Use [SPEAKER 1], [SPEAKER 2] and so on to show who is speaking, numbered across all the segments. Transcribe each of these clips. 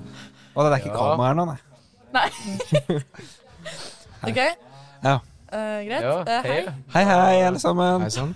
[SPEAKER 1] det er ikke
[SPEAKER 2] Ja.
[SPEAKER 1] kamera her nå, nei.
[SPEAKER 3] Nei. OK,
[SPEAKER 1] Ja.
[SPEAKER 3] eh, greit.
[SPEAKER 2] Ja,
[SPEAKER 3] Eh, hei.
[SPEAKER 1] Hei,
[SPEAKER 2] hei.
[SPEAKER 1] hei, alle sammen.
[SPEAKER 4] Hei sann.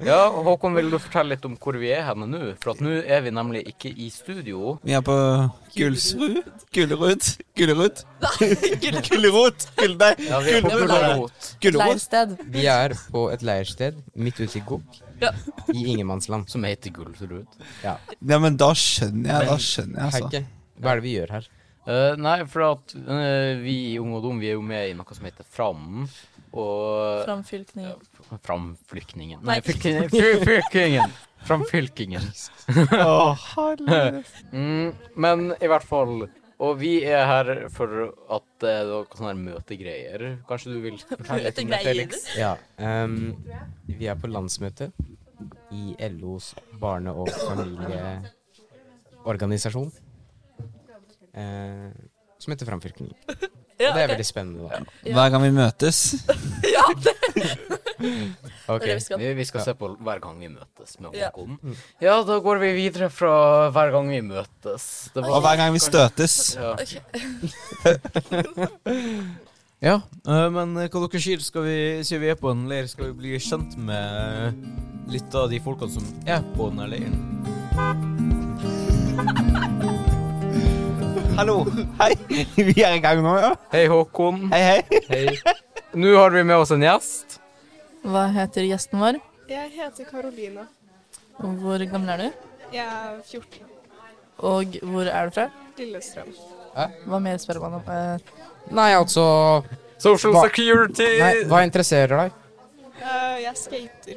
[SPEAKER 2] Ja, og Håkon, vil du fortelle litt om hvor vi er henne nå? For at nå er vi nemlig ikke i studio.
[SPEAKER 1] Vi er på Gullsrud. Gullerud. Gullerud.
[SPEAKER 3] Gull-
[SPEAKER 1] Gullerot. Gull... Nei,
[SPEAKER 2] Ja, vi er på
[SPEAKER 3] Ja, men da-
[SPEAKER 2] Gulrot.
[SPEAKER 1] gullerot.
[SPEAKER 3] Leirsted.
[SPEAKER 4] Vi er på et leirsted midt ute i Gokk,
[SPEAKER 3] Ja.
[SPEAKER 4] i ingenmannsland.
[SPEAKER 2] Som heter Gulrot.
[SPEAKER 1] Ja, men da skjønner jeg, da skjønner jeg, altså.
[SPEAKER 4] Herke, hva er det vi gjør her?
[SPEAKER 2] Eh, nei, for at eh, vi i Ung og Dum vi er jo med i noe som heter Fram. Og
[SPEAKER 3] Framfylkning.
[SPEAKER 2] Framflyktningen.
[SPEAKER 3] Nei.
[SPEAKER 2] Nei, fylkingen. Fyr- Fylkingen. Framfylkingen. Mm, men i hvert fall Og vi er her for at det er noen sånne her møtegreier. Kanskje du vil fortelle litt om det,
[SPEAKER 3] Møtegreier?
[SPEAKER 2] Felix?
[SPEAKER 4] Ja, ehm, vi er på landsmøte i LOs barne- og familieorganisasjon. eh, som heter Framfylkingen. Og
[SPEAKER 3] Ja,
[SPEAKER 4] det er
[SPEAKER 3] ok.
[SPEAKER 4] veldig spennende, da.
[SPEAKER 1] Hver gang vi møtes.
[SPEAKER 3] ja, det
[SPEAKER 2] Ok,
[SPEAKER 3] Det er det vi skal.
[SPEAKER 2] vi, vi skal se på hver gang vi møtes med
[SPEAKER 3] Ja.
[SPEAKER 2] Håkon. Ja, da går vi videre fra hver gang vi møtes. Det
[SPEAKER 1] Og hver gang vi støtes.
[SPEAKER 2] ja.
[SPEAKER 3] ok.
[SPEAKER 5] Ja, eh, men eh, hva dere sier, skal vi, siden vi er på en leir, skal vi bli kjent med litt av de folkene som er på denne leiren?
[SPEAKER 1] Hallo. Hei. Vi er i gang nå, ja.
[SPEAKER 2] Hei, Håkon.
[SPEAKER 1] Hei, hei.
[SPEAKER 2] Hei. Nå har vi med oss en gjest.
[SPEAKER 3] Hva heter gjesten vår?
[SPEAKER 6] Jeg heter Karoline.
[SPEAKER 3] Hvor gammel er du?
[SPEAKER 6] Jeg er 14.
[SPEAKER 3] Og hvor er du fra?
[SPEAKER 6] Lillestrøm.
[SPEAKER 3] Hva mer spør man om? Eh,
[SPEAKER 4] Nei, altså
[SPEAKER 2] Social
[SPEAKER 4] Hva-
[SPEAKER 2] security.
[SPEAKER 4] Nei, hva interesserer deg?
[SPEAKER 6] Eh, jeg skater.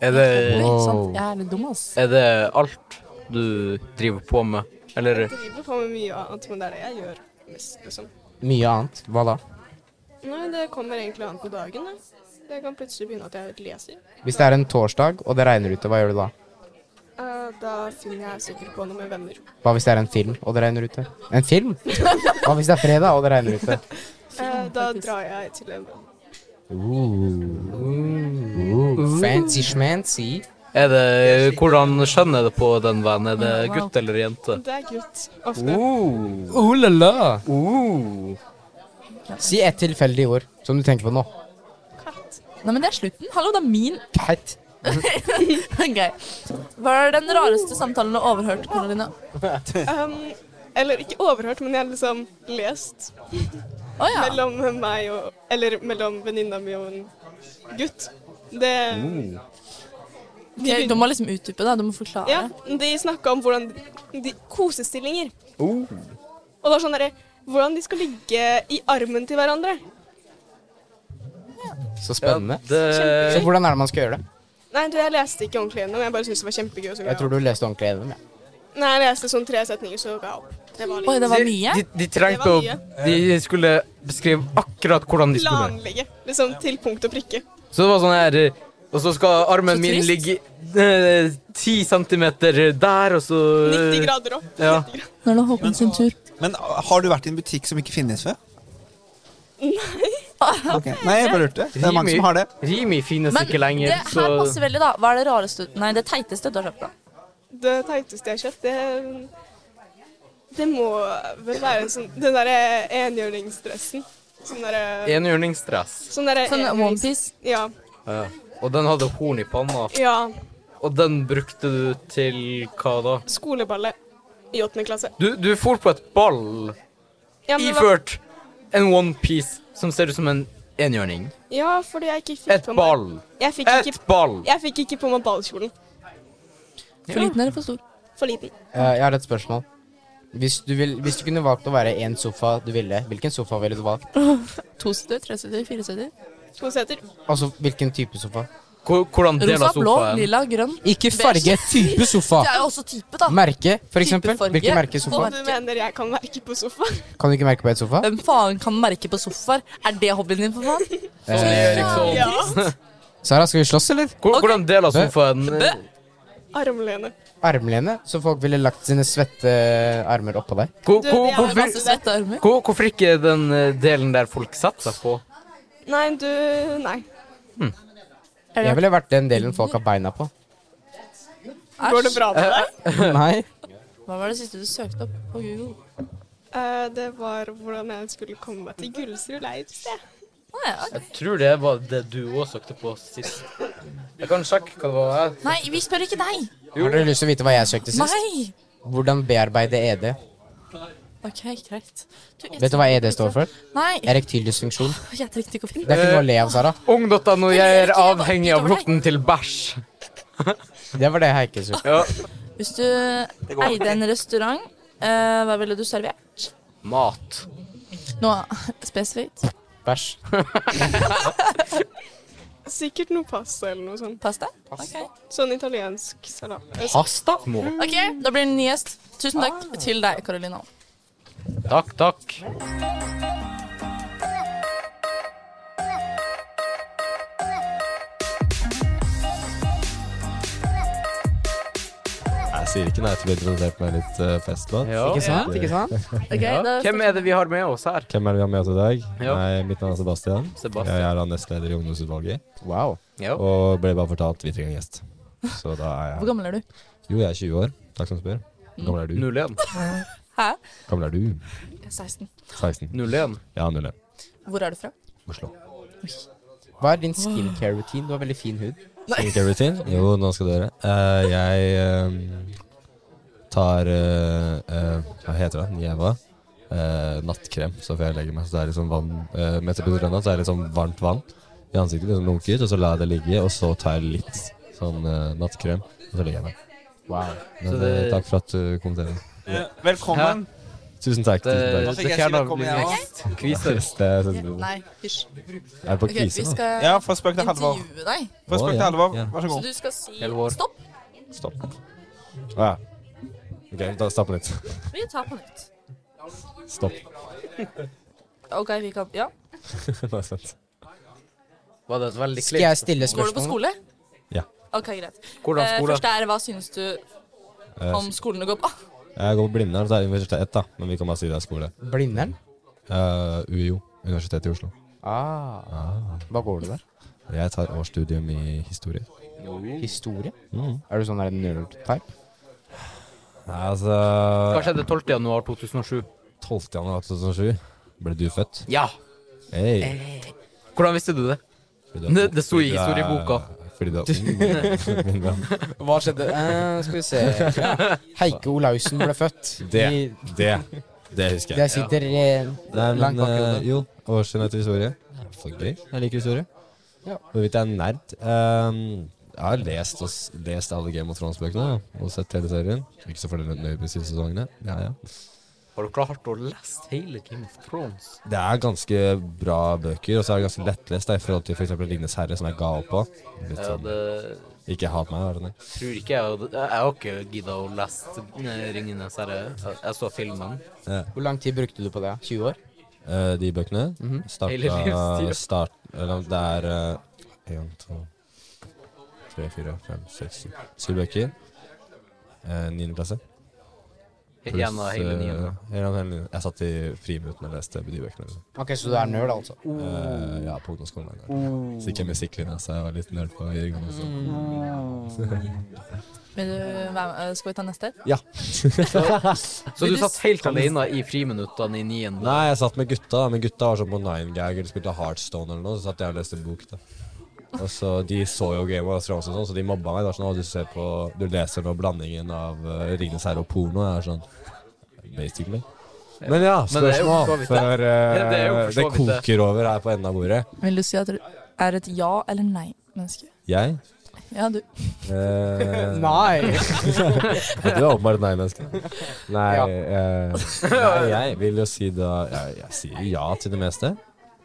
[SPEAKER 2] Er det,
[SPEAKER 3] Oi,
[SPEAKER 4] Wow.
[SPEAKER 3] sant? Jeg er litt dum, ass.
[SPEAKER 2] er det alt du driver på med? Eller
[SPEAKER 6] Jeg driver på med mye annet, men det er det jeg gjør mest, liksom.
[SPEAKER 4] Mye annet. Hva da?
[SPEAKER 6] Nei, det kommer egentlig an på dagen, da. Det kan plutselig begynne at jeg leser.
[SPEAKER 4] Hvis det er en torsdag, og det regner ute, hva gjør du da?
[SPEAKER 6] Eh, da finner jeg sikkert på noe med venner.
[SPEAKER 4] Hva hvis det er en film, og det regner ute? En film? Hva hvis det er fredag, og det regner ute?
[SPEAKER 6] Eh, da drar jeg til en venn.
[SPEAKER 4] Fancy schmancy.
[SPEAKER 2] er det Hvordan skjønner jeg det på den vennen? Er det
[SPEAKER 3] Wow.
[SPEAKER 2] gutt eller jente?
[SPEAKER 6] Det er gutt, ofte.
[SPEAKER 2] Oh.
[SPEAKER 4] Oh la la. Si et tilfeldig ord som du tenker på nå.
[SPEAKER 6] Katt.
[SPEAKER 3] Nei, men det er slutten. Hallo, det er min.
[SPEAKER 4] Keit.
[SPEAKER 3] Ok. Hva er den rareste samtalen du har overhørt, Karoline?
[SPEAKER 6] Um, eller ikke overhørt, men jeg har liksom lest
[SPEAKER 3] Å ja.
[SPEAKER 6] mellom meg og Eller mellom venninna mi og en gutt. Det
[SPEAKER 3] Ok, Du må liksom utdype det. Du må forklare.
[SPEAKER 6] Ja, de snakka om hvordan de, kosestillinger. Og det var sånn derre Hvordan de skal ligge i armen til hverandre.
[SPEAKER 4] Så spennende. Så
[SPEAKER 2] Det,
[SPEAKER 4] hvordan er det man skal gjøre det?
[SPEAKER 6] Nei, du, jeg leste ikke ordentlig gjennom. Jeg bare syntes det var kjempegøy. Så ga
[SPEAKER 4] Jeg tror du leste ordentlig gjennom. Ja.
[SPEAKER 6] opp. Nei, jeg leste sånn tre setninger, så ga jeg opp. Det var litt
[SPEAKER 3] Oi, det var mye.
[SPEAKER 2] de, de trengte å De skulle beskrive akkurat hvordan de skulle
[SPEAKER 6] planlegge. Liksom til punkt og prikke.
[SPEAKER 2] Så det var sånn her eh, Og så skal armen
[SPEAKER 3] Så
[SPEAKER 2] min
[SPEAKER 3] trist.
[SPEAKER 2] ligge eh, ti centimeter der, og så
[SPEAKER 6] 90 grader opp.
[SPEAKER 2] Eh, Ja.
[SPEAKER 3] Nå er det Håkon sin tur.
[SPEAKER 1] Men ah, har du vært i en butikk som ikke finnes før? Nei. Nei, jeg bare lurte. Det er mange som har det.
[SPEAKER 2] Rimi finnes
[SPEAKER 3] Men
[SPEAKER 2] ikke lenger,
[SPEAKER 3] det
[SPEAKER 2] så
[SPEAKER 3] her passer veldig, da. Hva er det rareste Nei, det teiteste du har kjøpt, da?
[SPEAKER 6] Det teiteste jeg har kjøpt, det Det må vel være en sånn Den derre enhjørningsdressen. Sånn derre
[SPEAKER 2] Enhjørningsdress.
[SPEAKER 6] Sånn derre
[SPEAKER 3] Sånn
[SPEAKER 6] enhjørnings-
[SPEAKER 3] onepiece.
[SPEAKER 6] Ja.
[SPEAKER 2] Ja. Og den hadde horn i panna.
[SPEAKER 6] Ja.
[SPEAKER 2] Og den brukte du til hva da?
[SPEAKER 6] Skoleballet i åttende klasse.
[SPEAKER 2] Du, du for på et ball
[SPEAKER 6] Ja, men det var-
[SPEAKER 2] iført en onepiece som ser ut som en enhjørning.
[SPEAKER 6] Ja, fordi jeg ikke fikk
[SPEAKER 2] Et
[SPEAKER 6] på meg
[SPEAKER 2] ball.
[SPEAKER 6] Jeg fikk,
[SPEAKER 2] Et
[SPEAKER 6] ikke,
[SPEAKER 2] ball.
[SPEAKER 6] jeg fikk ikke på meg ballkjolen.
[SPEAKER 3] For liten eller for stor?
[SPEAKER 6] For liten.
[SPEAKER 4] Eh, Jeg har et spørsmål. Hvis du, vil, hvis du kunne valgt å være én sofa du ville, hvilken sofa ville du valgt?
[SPEAKER 3] Toseter, treseter, fireseter?
[SPEAKER 6] To seter.
[SPEAKER 4] Altså, hvilken type sofa?
[SPEAKER 2] Hvor- Hvordan del
[SPEAKER 3] Rosa,
[SPEAKER 2] av
[SPEAKER 3] blå,
[SPEAKER 2] sofaen?
[SPEAKER 3] lilla, grønn.
[SPEAKER 4] Ikke farge, type sofa.
[SPEAKER 3] Det er jo også type, da.
[SPEAKER 4] Merke, for eksempel.
[SPEAKER 3] farge.
[SPEAKER 4] Hvilket merke er sofa?
[SPEAKER 6] Og du mener jeg kan merke på sofaen?
[SPEAKER 4] Kan du ikke merke på et sofa?
[SPEAKER 3] Hvem faen kan merke på sofaer? Er det hobbyen din, for faen?
[SPEAKER 2] Sånn Eriksson.
[SPEAKER 6] Ja.
[SPEAKER 4] Sara, skal vi slåss, eller?
[SPEAKER 2] Hvor- Hvordan del av sofaen?
[SPEAKER 6] Armlene.
[SPEAKER 4] Armlene, så folk ville lagt sine svette eh, armer oppå deg.
[SPEAKER 2] Hvor-
[SPEAKER 6] Du,
[SPEAKER 2] hvor-
[SPEAKER 6] det er
[SPEAKER 3] Har du
[SPEAKER 2] Hvorfor
[SPEAKER 3] masse svette armer?
[SPEAKER 2] hvor- hvorfor ikke den eh, delen der folk setter seg på?
[SPEAKER 6] Nei, du Nei.
[SPEAKER 4] Jeg ville vært den delen folk har beina på.
[SPEAKER 6] Går det bra med deg?
[SPEAKER 4] Nei.
[SPEAKER 3] Hva var det siste du søkte opp på Google?
[SPEAKER 6] Eh, det var hvordan jeg skulle komme meg til Gullsrud leirskole.
[SPEAKER 3] Å, ja, ok.
[SPEAKER 2] Jeg tror det var det du òg søkte på sist. Jeg kan sjekke hva det var.
[SPEAKER 3] Nei, vi spør ikke deg!
[SPEAKER 4] Har dere lyst til å vite hva jeg søkte sist?
[SPEAKER 3] Nei!
[SPEAKER 4] Hvordan bearbeide ED?
[SPEAKER 3] OK, greit. Du, jeg-
[SPEAKER 4] Vet du hva ED står for?
[SPEAKER 3] Nei,
[SPEAKER 4] Erektil dysfunksjon.
[SPEAKER 3] jeg trengte ikke å finne
[SPEAKER 4] Det er ikke noe å le av, Sara.
[SPEAKER 2] Ung.no, jeg er avhengig av lukten til bæsj.
[SPEAKER 4] Det var det Heike søkte.
[SPEAKER 2] Ja.
[SPEAKER 3] Hvis du eide en restaurant, eh, hva ville du servert?
[SPEAKER 2] Mat.
[SPEAKER 3] Noe spesifikt?
[SPEAKER 4] Bæsj.
[SPEAKER 6] Sikkert noe pasta eller noe sånt.
[SPEAKER 3] Pasta? Ok,
[SPEAKER 6] Sånn italiensk salat. Eh,
[SPEAKER 4] Pasta?
[SPEAKER 3] Ok, da blir det en ny gjest. Tusen takk til deg, Karolina.
[SPEAKER 2] Takk, takk.
[SPEAKER 7] Jeg sier ikke nei til å bli introdusert med litt eh, fest. da.
[SPEAKER 2] Ja.
[SPEAKER 4] Ikke sant? Ikke sant?
[SPEAKER 3] Ok,
[SPEAKER 2] Ja.
[SPEAKER 3] da-
[SPEAKER 2] Hvem er det vi har med oss her?
[SPEAKER 7] Hvem er det vi har med oss i dag?
[SPEAKER 2] Ja.
[SPEAKER 7] Nei, mitt navn er Sebastian.
[SPEAKER 2] Sebastian.
[SPEAKER 7] Jeg er da nestleder i ungdomsutvalget.
[SPEAKER 4] Wow.
[SPEAKER 2] Ja.
[SPEAKER 7] Og ble bare fortalt vi trenger en gjest. Så da er
[SPEAKER 3] Hvor
[SPEAKER 7] jeg
[SPEAKER 3] gammel er du?
[SPEAKER 7] Jo, jeg er 20 år. Takk som spør. Hvor gammel er du?
[SPEAKER 2] Null igjen.
[SPEAKER 3] Hæ?
[SPEAKER 7] Gammel er du?
[SPEAKER 3] 16.
[SPEAKER 7] 16.
[SPEAKER 2] Null igjen.
[SPEAKER 7] Ja, null. ja.
[SPEAKER 3] Hvor er du fra?
[SPEAKER 7] Oslo.
[SPEAKER 4] Hva er din skincare-routine? Du har veldig fin hud.
[SPEAKER 7] Skincare routine? Jo, nå skal du høre. Eh, jeg eh, tar eh, eh, Hva heter det? Nieva. Eh, nattkrem, så før jeg legger meg. Så det er liksom vann eh, Mens jeg begynner å så er det liksom varmt vann i ansiktet. Liksom lunker, og så lar jeg det ligge, og så tar jeg litt sånn eh, nattkrem, og så legger jeg meg.
[SPEAKER 4] Wow.
[SPEAKER 7] Men,
[SPEAKER 2] Så det-
[SPEAKER 7] eh, takk for at du kommenterer.
[SPEAKER 1] Velkommen.
[SPEAKER 7] Tusen takk.
[SPEAKER 2] Det,
[SPEAKER 7] Tusen
[SPEAKER 1] fikk
[SPEAKER 7] takk.
[SPEAKER 2] det
[SPEAKER 1] jeg
[SPEAKER 2] fjerner
[SPEAKER 1] ikke komme
[SPEAKER 2] litt
[SPEAKER 1] igjen,
[SPEAKER 2] vekst. Kviser.
[SPEAKER 7] Yes, det er sånn-
[SPEAKER 3] Nei, hysj.
[SPEAKER 7] Jeg er på
[SPEAKER 3] Ok, vi
[SPEAKER 7] kvise nå.
[SPEAKER 3] skal
[SPEAKER 1] Ja, fra spøk til alvor.
[SPEAKER 3] intervjue deg.
[SPEAKER 1] Fra spøk
[SPEAKER 7] Å,
[SPEAKER 1] til
[SPEAKER 7] ja,
[SPEAKER 1] alvor,
[SPEAKER 7] ja.
[SPEAKER 1] vær så
[SPEAKER 3] Så
[SPEAKER 1] god.
[SPEAKER 3] du skal si
[SPEAKER 2] Alvor.
[SPEAKER 3] stopp.
[SPEAKER 7] Stopp. Å ja. OK, da stopp litt.
[SPEAKER 3] Vi tar på nytt.
[SPEAKER 7] Stopp.
[SPEAKER 3] Ok, vi kan Ja.
[SPEAKER 7] Nei, sant.
[SPEAKER 2] Var det et veldig
[SPEAKER 4] Skal jeg
[SPEAKER 2] klipp?
[SPEAKER 4] stille
[SPEAKER 3] Går du på
[SPEAKER 4] spørsmål?
[SPEAKER 3] skole?
[SPEAKER 7] Ja.
[SPEAKER 3] Ok, greit.
[SPEAKER 2] Hvordan
[SPEAKER 3] Eh,
[SPEAKER 2] skole?
[SPEAKER 3] Først er hva syns du
[SPEAKER 7] Eh,
[SPEAKER 3] om skolen du går på?
[SPEAKER 7] Jeg går på Blindern, så er det universitet, da. Men vi kan bare si det er skole.
[SPEAKER 4] Blindern?
[SPEAKER 7] Eh, UiO, Universitetet i Oslo.
[SPEAKER 4] Ah. Hva går du der?
[SPEAKER 7] Jeg tar årsstudium i historie.
[SPEAKER 4] Historie? Er du sånn der nerd-type?
[SPEAKER 7] Nei, altså
[SPEAKER 2] Hva skjedde 12. januar 2007?
[SPEAKER 7] 12. januar 2007 ble du født.
[SPEAKER 2] Ja.
[SPEAKER 7] Hey.
[SPEAKER 2] Hvordan visste du det?
[SPEAKER 7] Fordi
[SPEAKER 2] Det- det sto i
[SPEAKER 7] fordi du er-
[SPEAKER 2] historieboka.
[SPEAKER 7] Fordi du er ung. min venn.
[SPEAKER 4] Hva skjedde? Eh, skal vi se Heike Olaussen ble født.
[SPEAKER 7] Det,
[SPEAKER 4] I,
[SPEAKER 7] det, det husker
[SPEAKER 4] det
[SPEAKER 7] jeg.
[SPEAKER 4] sitter eh,
[SPEAKER 7] Nei,
[SPEAKER 4] langt
[SPEAKER 7] men
[SPEAKER 4] bak i
[SPEAKER 7] eh,
[SPEAKER 4] hodet.
[SPEAKER 7] jo, årsstudium etter historie. For gøy. Jeg liker historie.
[SPEAKER 4] Ja.
[SPEAKER 7] Hvorvidt jeg er nerd Ehm, Jeg har lest, og, s- lest alle Game of Thrones-bøkene da, og sett hele serien. Ikke så fornøyd med de siste sesongene. Ja, ja.
[SPEAKER 2] Har du klart å lese hele Game of Thrones?
[SPEAKER 7] Det er ganske bra bøker, og så er det ganske lettlest da, i forhold til f.eks. Ringenes herre, som jeg ga opp på. Litt
[SPEAKER 2] Ja,
[SPEAKER 7] sånn,
[SPEAKER 2] det
[SPEAKER 7] ikke hat meg, er det det?
[SPEAKER 2] tror ikke jeg hadde Jeg har ikke gidda å lese eh, Ringenes herre. Jeg- Jeg så filmen.
[SPEAKER 4] Hvor lang tid brukte du på det? 20 år?
[SPEAKER 7] Eh, de bøkene
[SPEAKER 2] Mhm. Hele
[SPEAKER 7] starta
[SPEAKER 2] livstida.
[SPEAKER 7] start, eller, Det er én, to, tre, fire, fem, seks, syv- syv bøker. Eh, Niende klasse.
[SPEAKER 2] Gjennom hele
[SPEAKER 7] eh,
[SPEAKER 2] niende.
[SPEAKER 7] gjennom hele niende. Jeg satt i friminuttene og leste de bøkene. Liksom.
[SPEAKER 4] Ok, Så du er nerd, altså?
[SPEAKER 7] Eh, ja, på ungdomsskolen. er det. Så ikke musikklinja, så jeg var litt nerd på videregående også.
[SPEAKER 3] Vil du være med? eh, Skal vi ta neste?
[SPEAKER 2] Så du satt helt alene i friminuttene i niende?
[SPEAKER 7] Nei, jeg satt med gutta. Men gutta var sånn på Nine Gag eller spilte Heartstone eller noe. Så satt jeg og leste en bok. da Og så De så jo Game of Thrones og sånn, så de mobba meg. Det var sånn, «Å, du, ser på, du leser nå blandingen av uh, Ringenes herre og porno. Jeg er sånn Basically. Men ja,
[SPEAKER 2] Men det er jo
[SPEAKER 7] spørsmål
[SPEAKER 2] for så vidt det.
[SPEAKER 7] før eh,
[SPEAKER 2] Det- det er jo for så
[SPEAKER 7] det
[SPEAKER 2] vidt det.
[SPEAKER 7] koker over her på enden av bordet.
[SPEAKER 3] Vil du si at du er et ja- eller nei-menneske?
[SPEAKER 7] Jeg
[SPEAKER 3] Ja, du.
[SPEAKER 4] Oh,
[SPEAKER 7] eh,
[SPEAKER 4] Nei!
[SPEAKER 7] Ja, Du er åpenbart et nei-menneske. Nei,
[SPEAKER 4] Ja.
[SPEAKER 7] eh, nei, jeg vil jo si da Jeg, jeg sier ja til det meste.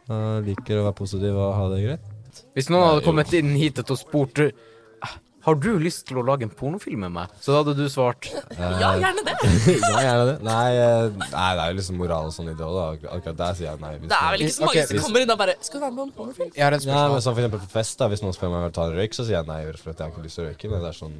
[SPEAKER 7] Jeg liker å være positiv og ha det greit.
[SPEAKER 2] Hvis noen hadde kommet inn hit og spurt eh, har du lyst til å lage en pornofilm med meg, så hadde du svart
[SPEAKER 3] Ja, gjerne det.
[SPEAKER 7] ja, gjerne det. Nei, eh, nei, det er jo liksom moral og sånn i det òg, da. Ak- Akkurat der sier jeg nei. Hvis
[SPEAKER 3] Det er vel ikke så mange
[SPEAKER 4] Ok,
[SPEAKER 3] som
[SPEAKER 7] hvis-
[SPEAKER 3] kommer inn og bare Skal du være med på en pornofilm?
[SPEAKER 4] Jeg har et
[SPEAKER 7] Nei, men
[SPEAKER 4] spørsmål.
[SPEAKER 7] sånn for eksempel på fest, da, hvis noen spør meg om jeg vil ta en røyk, så sier jeg nei, for at jeg har ikke lyst til å røyke. Men det er sånn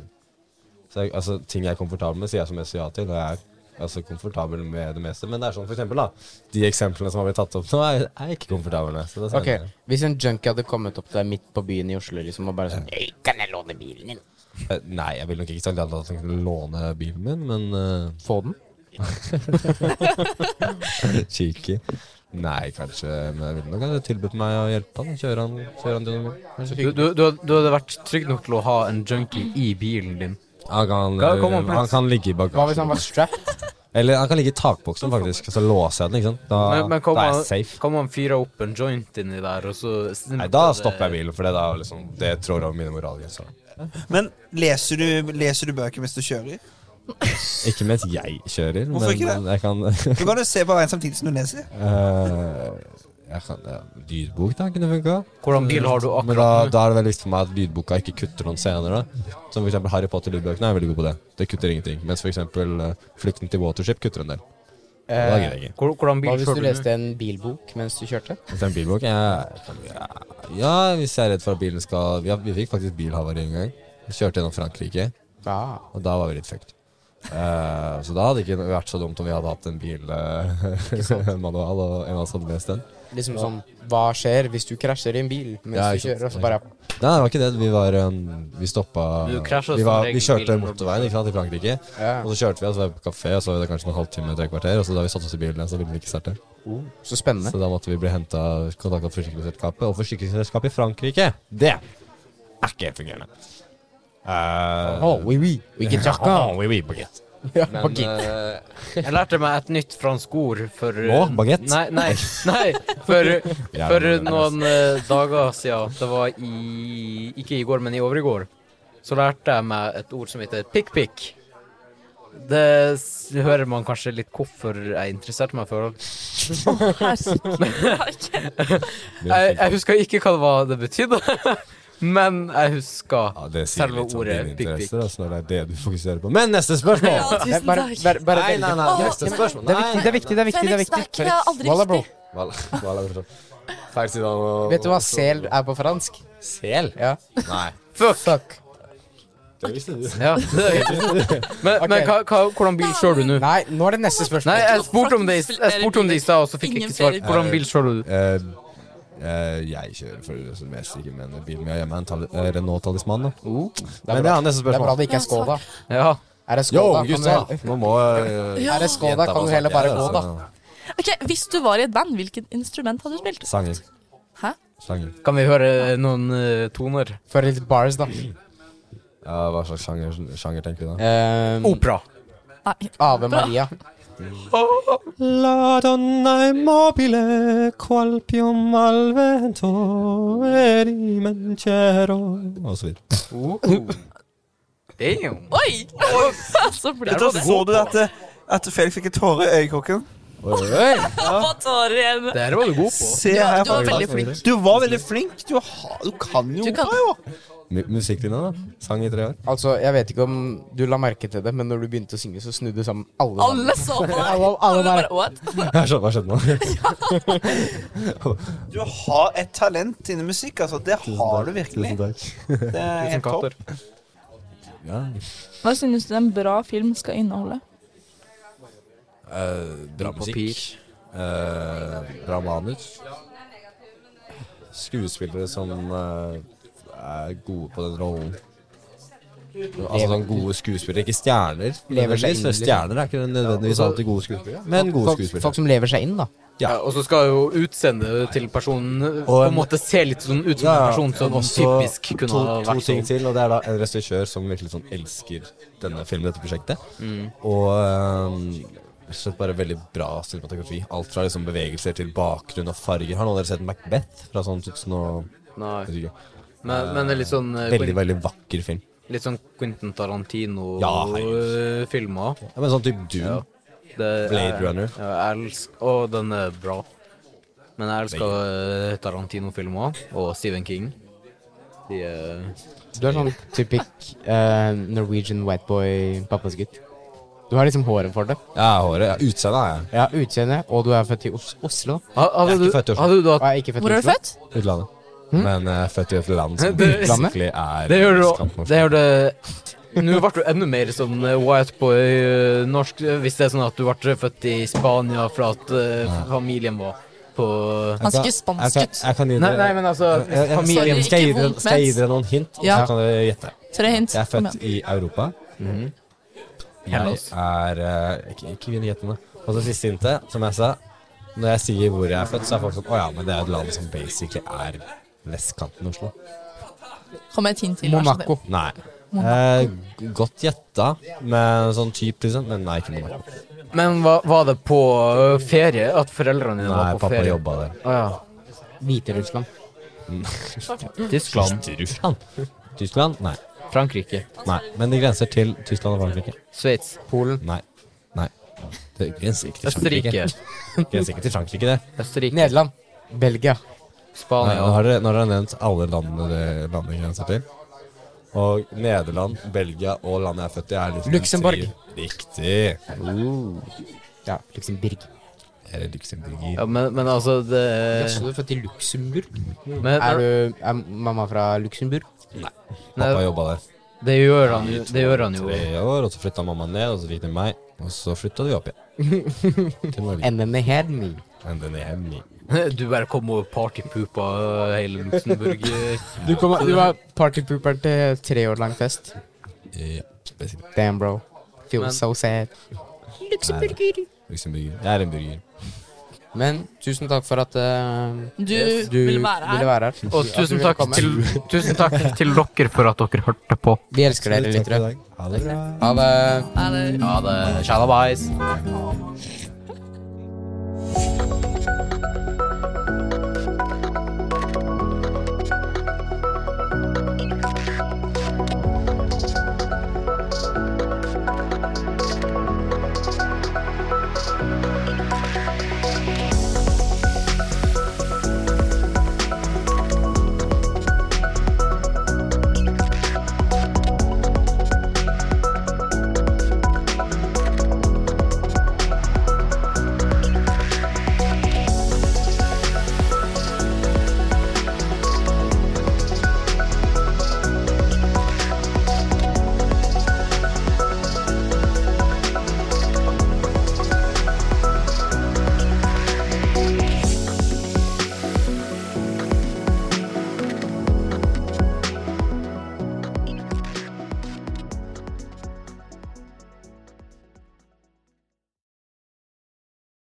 [SPEAKER 7] så jeg, altså, Ting jeg er komfortabel med, sier jeg som jeg sier ja til. Og jeg er altså komfortabel med det meste. Men det er sånn for eksempel, da. De eksemplene som har blitt tatt opp nå, er er jeg ikke komfortabel med. Så da sier
[SPEAKER 4] Ok,
[SPEAKER 7] jeg nei.
[SPEAKER 4] Hvis en junkie hadde kommet opp til deg midt på byen i Oslo liksom, og bare sånn «Hey, Kan jeg låne bilen din?
[SPEAKER 7] Eh, Nei, jeg ville nok ikke sagt at jeg hadde tenkt å låne bilen min, men eh,
[SPEAKER 4] Få den?
[SPEAKER 7] Cheeky. Nei, kanskje. Men jeg ville nok ha tilbudt meg å hjelpe han. Kjøre han, kjøre han til noe. Kanskje
[SPEAKER 2] Du, du, du, du hadde vært trygg nok til å ha en junkie i bilen din.
[SPEAKER 7] Han kan,
[SPEAKER 2] Ja, kom og
[SPEAKER 7] han kan ligge i
[SPEAKER 2] Hva hvis
[SPEAKER 7] bagasjen.
[SPEAKER 2] han var strapped?
[SPEAKER 7] Eller han kan ligge i takboksen, faktisk. Så låser jeg den, ikke sant. Da,
[SPEAKER 2] Men, men kom,
[SPEAKER 7] da er
[SPEAKER 2] han,
[SPEAKER 7] jeg safe.
[SPEAKER 2] kom han fyra opp en joint inni der, og så eh,
[SPEAKER 7] Nei, da stopper jeg bilen, for det, da, liksom, det trår over mine moralgrenser.
[SPEAKER 1] Men leser du, leser du bøker mens du kjører?
[SPEAKER 7] Ikke mens jeg kjører,
[SPEAKER 1] Hvorfor
[SPEAKER 7] men
[SPEAKER 1] ikke det?
[SPEAKER 7] jeg kan
[SPEAKER 1] Du kan jo se på veien samtidig som du leser.
[SPEAKER 7] Eh, jeg kan, ja, lydbok da kunne funka.
[SPEAKER 2] Hvordan bil har du
[SPEAKER 7] Men da,
[SPEAKER 2] akkurat nå?
[SPEAKER 7] da er det veldig viktig for meg at lydboka ikke kutter noen scener. da Som for eksempel Harry Potter-lydbøkene er jeg veldig god på det. Det kutter ingenting. Mens for eksempel eh, Flukten til Watership kutter en del.
[SPEAKER 2] Eh,
[SPEAKER 7] det gidder jeg ikke.
[SPEAKER 2] Hvor- Hvordan
[SPEAKER 4] Hva
[SPEAKER 2] bil
[SPEAKER 4] hvis du
[SPEAKER 2] kjører du?
[SPEAKER 4] leste en bilbok mens du kjørte?
[SPEAKER 7] Hvis det er en bilbok jeg, ja, ja, hvis jeg er redd for at bilen skal ja, Vi fikk faktisk bilhavari en gang. Vi kjørte gjennom Frankrike,
[SPEAKER 4] Ja.
[SPEAKER 7] og da var vi litt fucked. Eh, så da hadde det ikke vært så dumt om vi hadde hatt en bilmanual og en av oss hadde lest den.
[SPEAKER 4] Liksom sånn Hva skjer hvis du krasjer i en bil mens
[SPEAKER 7] Ja,
[SPEAKER 4] du
[SPEAKER 7] ikke sant.
[SPEAKER 4] kjører? Og så bare
[SPEAKER 7] Nei, det var ikke det. Vi var um, Vi stoppa
[SPEAKER 2] Du krasjet
[SPEAKER 7] vi,
[SPEAKER 2] som
[SPEAKER 7] var, vi
[SPEAKER 2] regel
[SPEAKER 7] kjørte
[SPEAKER 2] bilen.
[SPEAKER 7] motorveien ikke sant, i Frankrike.
[SPEAKER 4] ja.
[SPEAKER 7] Og så kjørte vi, og så var vi på kafé, og så var vi der kanskje en halvtime, tre kvarter. Og så da vi satte oss i bilen, så ville vi ikke starte.
[SPEAKER 4] oh, Så spennende.
[SPEAKER 7] Så da måtte vi bli henta kontakt av forsikringsselskapet. Og forsikringsselskapet i Frankrike, det er ikke fungerende. Eh,
[SPEAKER 4] Oh, oui, oui. We can talk now.
[SPEAKER 7] oh, oui, oui, baguette.
[SPEAKER 4] Ja,
[SPEAKER 7] Men,
[SPEAKER 4] ok.
[SPEAKER 7] eh,
[SPEAKER 2] Jeg lærte meg et nytt fransk ord for
[SPEAKER 7] Nå, baguette?
[SPEAKER 2] Nei, nei, nei for,
[SPEAKER 7] Ja,
[SPEAKER 2] for
[SPEAKER 7] men-
[SPEAKER 2] noen eh, dager siden. Det var i Ikke i går, men i overgår. Så lærte jeg meg et ord som heter pikk-pikk. Det s- hører man kanskje litt hvorfor jeg interesserte meg for.
[SPEAKER 3] Herregud.
[SPEAKER 2] Jeg, jeg husker ikke hva det var det betydde, men jeg husker
[SPEAKER 7] ja, det sier
[SPEAKER 2] selve
[SPEAKER 7] litt om
[SPEAKER 2] ordet
[SPEAKER 7] dine
[SPEAKER 2] pikk-pikk.
[SPEAKER 7] interesser, altså, når det er det du fokuserer på. Men neste spørsmål!
[SPEAKER 3] Ja, tusen
[SPEAKER 4] Bare,
[SPEAKER 3] takk.
[SPEAKER 4] bare, bare
[SPEAKER 7] Nei, nei, nei,
[SPEAKER 3] Åh,
[SPEAKER 7] neste
[SPEAKER 3] nei.
[SPEAKER 7] spørsmål.
[SPEAKER 4] Det er viktig, det er viktig. det er viktig, det er
[SPEAKER 3] Felix, det
[SPEAKER 4] viktig.
[SPEAKER 3] er ikke det er aldri
[SPEAKER 4] Walla, bro.
[SPEAKER 3] riktig.
[SPEAKER 7] Hva- hva er det for- Feil side av-
[SPEAKER 4] Vet du hva sel er på fransk?
[SPEAKER 7] Sel?
[SPEAKER 4] Ja.
[SPEAKER 7] Nei.
[SPEAKER 2] Fuck!
[SPEAKER 7] Det visste du.
[SPEAKER 2] Ja, det er greit. Men, men
[SPEAKER 4] Ok.
[SPEAKER 2] hva, hva, hvordan bil kjører du nå?
[SPEAKER 4] Nei, nå er det neste
[SPEAKER 2] Nei,
[SPEAKER 4] spørsmål.
[SPEAKER 2] jeg spurte om det i- jeg spurte om det i stad, og så fikk jeg ikke svar. Hvordan bil kjører du?
[SPEAKER 7] Eh, eh, jeg kjører for det meste ikke, men bilen min er hjemme. En tali eh, Renault Talisman. Da. men det er
[SPEAKER 4] Det Oh, er
[SPEAKER 7] neste
[SPEAKER 4] bra
[SPEAKER 7] spørsmål.
[SPEAKER 4] det ikke er Skoda.
[SPEAKER 2] Ja.
[SPEAKER 4] Er det
[SPEAKER 7] Yo,
[SPEAKER 4] Skoda? Kan
[SPEAKER 7] gutta!
[SPEAKER 4] du-
[SPEAKER 7] Nå må eh,
[SPEAKER 3] Ja.
[SPEAKER 4] Er det Skoda?
[SPEAKER 7] jenta
[SPEAKER 4] Kan
[SPEAKER 7] må
[SPEAKER 4] du heller bare
[SPEAKER 7] snakke, ja,
[SPEAKER 4] gå, da?
[SPEAKER 7] altså.
[SPEAKER 3] Ok, Hvis du var i et band, hvilket instrument hadde du spilt?
[SPEAKER 7] Sanger.
[SPEAKER 3] Hæ?
[SPEAKER 7] Sanger.
[SPEAKER 2] Kan vi høre noen eh, toner?
[SPEAKER 4] For litt bars, da.
[SPEAKER 7] Ja, hva slags sjanger, sjanger tenker du da?
[SPEAKER 4] Um,
[SPEAKER 2] Opera.
[SPEAKER 3] Nei.
[SPEAKER 4] Ave Maria.
[SPEAKER 7] La donna immobile qual pium al vento e rimencero Og så videre.
[SPEAKER 2] Damn.
[SPEAKER 3] Oi! Så blir
[SPEAKER 2] Der var
[SPEAKER 3] det
[SPEAKER 1] Så så du at, eh, at Felix fikk en tåre i øyekroken?
[SPEAKER 7] Oi, oi, oi.
[SPEAKER 3] Få tårer igjen.
[SPEAKER 2] Det her var du god på.
[SPEAKER 1] Se
[SPEAKER 3] Ja,
[SPEAKER 1] her.
[SPEAKER 3] du var
[SPEAKER 1] Felix.
[SPEAKER 3] veldig flink.
[SPEAKER 1] Du var veldig flink. Du, har, du kan jo
[SPEAKER 3] Du kan-
[SPEAKER 1] opera, jo.
[SPEAKER 7] Mu- Musikklinja, da. Sang i tre år.
[SPEAKER 4] Altså, jeg vet ikke om du la merke til det, men når du begynte å synge, så snudde sammen alle. sammen.
[SPEAKER 3] Alle så på deg.
[SPEAKER 4] Alle- alle
[SPEAKER 3] Alle
[SPEAKER 4] der.
[SPEAKER 3] bare, what?
[SPEAKER 7] Hva skjedde- hva skjedde nå?
[SPEAKER 1] Du har et talent innen musikk, altså. Det har du virkelig.
[SPEAKER 7] Tusen takk.
[SPEAKER 1] Det er helt topp.
[SPEAKER 7] Ja.
[SPEAKER 3] Hva synes du en bra film skal inneholde?
[SPEAKER 7] Eh, bra musikk. Eh, bra manus. Skuespillere som eh, er gode på den rollen. Altså sånn gode skuespillere, ikke stjerner.
[SPEAKER 4] Lever seg
[SPEAKER 7] nødvendigvis,
[SPEAKER 4] inn,
[SPEAKER 7] for
[SPEAKER 4] liksom.
[SPEAKER 7] Stjerner er ikke
[SPEAKER 2] Altså,
[SPEAKER 7] nødvendigvis alltid gode skuespillere, men gode
[SPEAKER 4] Folk, folk
[SPEAKER 7] skuespillere.
[SPEAKER 4] som lever seg inn, da.
[SPEAKER 2] Ja, og så skal jo utseendet til personen eh, på
[SPEAKER 7] Og
[SPEAKER 2] en
[SPEAKER 7] en-
[SPEAKER 2] måte se litt sånn ut som en
[SPEAKER 7] Ja, ja.
[SPEAKER 2] person som
[SPEAKER 7] Også
[SPEAKER 2] typisk kunne
[SPEAKER 7] to,
[SPEAKER 2] ha
[SPEAKER 7] to
[SPEAKER 2] vært
[SPEAKER 7] ting
[SPEAKER 2] sånn.
[SPEAKER 7] til, og det er da en regissør som virkelig sånn elsker denne filmen, dette prosjektet.
[SPEAKER 2] Mm.
[SPEAKER 7] Og ehm, rett og slett bare veldig bra cinematografi. Alt fra liksom bevegelser til bakgrunn og farger. Har noen av dere sett Macbeth fra sånn 2000 og jeg
[SPEAKER 2] Nei.
[SPEAKER 7] vet ikke.
[SPEAKER 2] Men, men det er litt sånn eh,
[SPEAKER 7] Veldig,
[SPEAKER 2] Quin-
[SPEAKER 7] veldig vakker film.
[SPEAKER 2] Litt sånn Quentin eh,
[SPEAKER 7] Ja, herregud.
[SPEAKER 2] Tarantino-filmer.
[SPEAKER 7] Ja, men sånn type Dune.
[SPEAKER 2] Ja. Det-
[SPEAKER 7] Blade
[SPEAKER 2] jeg-
[SPEAKER 7] Runner.
[SPEAKER 2] Ja, jeg elsker, og den er bra. Men jeg elsker eh, Tarantino-filmer og Stephen King. De eh, er
[SPEAKER 4] Du er sånn typisk eh, Norwegian white boy pappas gutt. Du har liksom håret for det.
[SPEAKER 7] Ja, håret. Ja, Utseendet er jeg.
[SPEAKER 4] Ja, utseende, og du er født i Os Oslo.
[SPEAKER 2] Ha-
[SPEAKER 7] Jeg
[SPEAKER 2] Hadde
[SPEAKER 7] er
[SPEAKER 2] du,
[SPEAKER 7] ikke født i Oslo.
[SPEAKER 2] hadde du
[SPEAKER 4] Og
[SPEAKER 2] hatt
[SPEAKER 4] jeg er ikke født
[SPEAKER 3] Hvor
[SPEAKER 4] i
[SPEAKER 3] er du
[SPEAKER 4] Oslo.
[SPEAKER 3] født?
[SPEAKER 7] Utlandet. Men eh, født i et land som
[SPEAKER 2] Det-
[SPEAKER 7] virkelig er
[SPEAKER 2] Det gjør du
[SPEAKER 7] skamfullt.
[SPEAKER 2] Det gjør det Nå ble du enda mer sånn eh, white boy eh, norsk, eh, hvis det er sånn at du ble født i Spania fra at eh, familien var på
[SPEAKER 3] Han skal ikke
[SPEAKER 7] Jeg
[SPEAKER 3] spansk
[SPEAKER 7] kan,
[SPEAKER 3] ut.
[SPEAKER 7] jeg kan gi
[SPEAKER 2] Nei, nei,
[SPEAKER 7] dere
[SPEAKER 2] men altså
[SPEAKER 7] Jeg- jeg-
[SPEAKER 2] Familien
[SPEAKER 3] Sorry.
[SPEAKER 7] Skal jeg gi
[SPEAKER 3] Ikke
[SPEAKER 7] dere-
[SPEAKER 3] vondt
[SPEAKER 7] skal jeg gi
[SPEAKER 3] ment.
[SPEAKER 7] dere noen hint,
[SPEAKER 3] Ja.
[SPEAKER 7] så kan dere gjette?
[SPEAKER 3] Tre hint.
[SPEAKER 7] Jeg er
[SPEAKER 3] Kom
[SPEAKER 7] født
[SPEAKER 2] Mhm.
[SPEAKER 3] igjen.
[SPEAKER 7] i Europa. Jeg
[SPEAKER 2] Hellas.
[SPEAKER 7] er eh, ikke, ikke vinn gjettene. Og så siste hintet, som jeg sa. Når jeg sier hvor jeg er født, så er folk sånn Å ja, men det er et land som basically er vestkanten av Oslo.
[SPEAKER 3] Kom med et hint til. vær så snill.
[SPEAKER 4] Monaco.
[SPEAKER 7] Nei. Eh, godt gjetta, men sånn type, liksom. Men nei, ikke noe.
[SPEAKER 2] Men var, var det på ø, ferie? At foreldrene dine
[SPEAKER 7] Nei,
[SPEAKER 2] var på
[SPEAKER 7] pappa
[SPEAKER 2] ferie? Ah,
[SPEAKER 7] jobba der.
[SPEAKER 2] Å
[SPEAKER 4] Hviterussland.
[SPEAKER 2] ja. Tyskland.
[SPEAKER 7] Tyskland? Tyskland? Nei.
[SPEAKER 2] Frankrike.
[SPEAKER 7] nei. Men det grenser til Tyskland og Frankrike.
[SPEAKER 2] Sveits. Polen.
[SPEAKER 7] Nei. Nei. Det grenser ikke til Frankrike.
[SPEAKER 2] Østerrike.
[SPEAKER 7] Grenser ikke til Frankrike, det.
[SPEAKER 2] Østerrike.
[SPEAKER 4] Nederland. Belgia.
[SPEAKER 7] Nei, nå
[SPEAKER 2] Spania.
[SPEAKER 7] har dere, nå har dere nevnt alle landene det landet grenser til. Og Nederland, Belgia og landet jeg er født i, er liksom
[SPEAKER 4] Luxembourg.
[SPEAKER 7] tre- Riktig.
[SPEAKER 4] Ja, Luxemburg.
[SPEAKER 7] Eller Luxemburg.
[SPEAKER 2] Ja, men, men altså det
[SPEAKER 4] Jaså, du er født i Luxemburg?
[SPEAKER 2] men,
[SPEAKER 4] Eh, Er du er mamma fra Luxemburg?
[SPEAKER 7] Pappa jobba der.
[SPEAKER 2] Det gjør han jo. Det gjør han jo.
[SPEAKER 7] Tre år, og så flytta mamma ned, og så fikk de meg. Og så flytta de opp igjen. Til Norge.
[SPEAKER 4] NM i Hedmi.
[SPEAKER 7] And then they have me.
[SPEAKER 2] Du bare kom og partypoopa ø, hele Luxembourg.
[SPEAKER 4] Du, kom, du var partypooper til tre år lang fest.
[SPEAKER 7] Ja, Eh, spesielt.
[SPEAKER 4] Damn, bro. Feel
[SPEAKER 2] Men-
[SPEAKER 4] so sad.
[SPEAKER 7] Luxemburger. Luxemburger. Jeg er en burger.
[SPEAKER 4] Men tusen takk for at eh,
[SPEAKER 3] Du ville være her.
[SPEAKER 4] ville være her.
[SPEAKER 2] Og
[SPEAKER 4] At du
[SPEAKER 2] tusen
[SPEAKER 4] ville
[SPEAKER 2] takk,
[SPEAKER 4] komme.
[SPEAKER 2] til, tusen takk til dere for at dere hørte på.
[SPEAKER 4] Vi elsker dere,
[SPEAKER 7] Takk for i
[SPEAKER 4] lyttere.
[SPEAKER 7] dag. Ha det bra.
[SPEAKER 4] Ha det.
[SPEAKER 3] Er det
[SPEAKER 2] Ha det. Shalabais.
[SPEAKER 3] Å,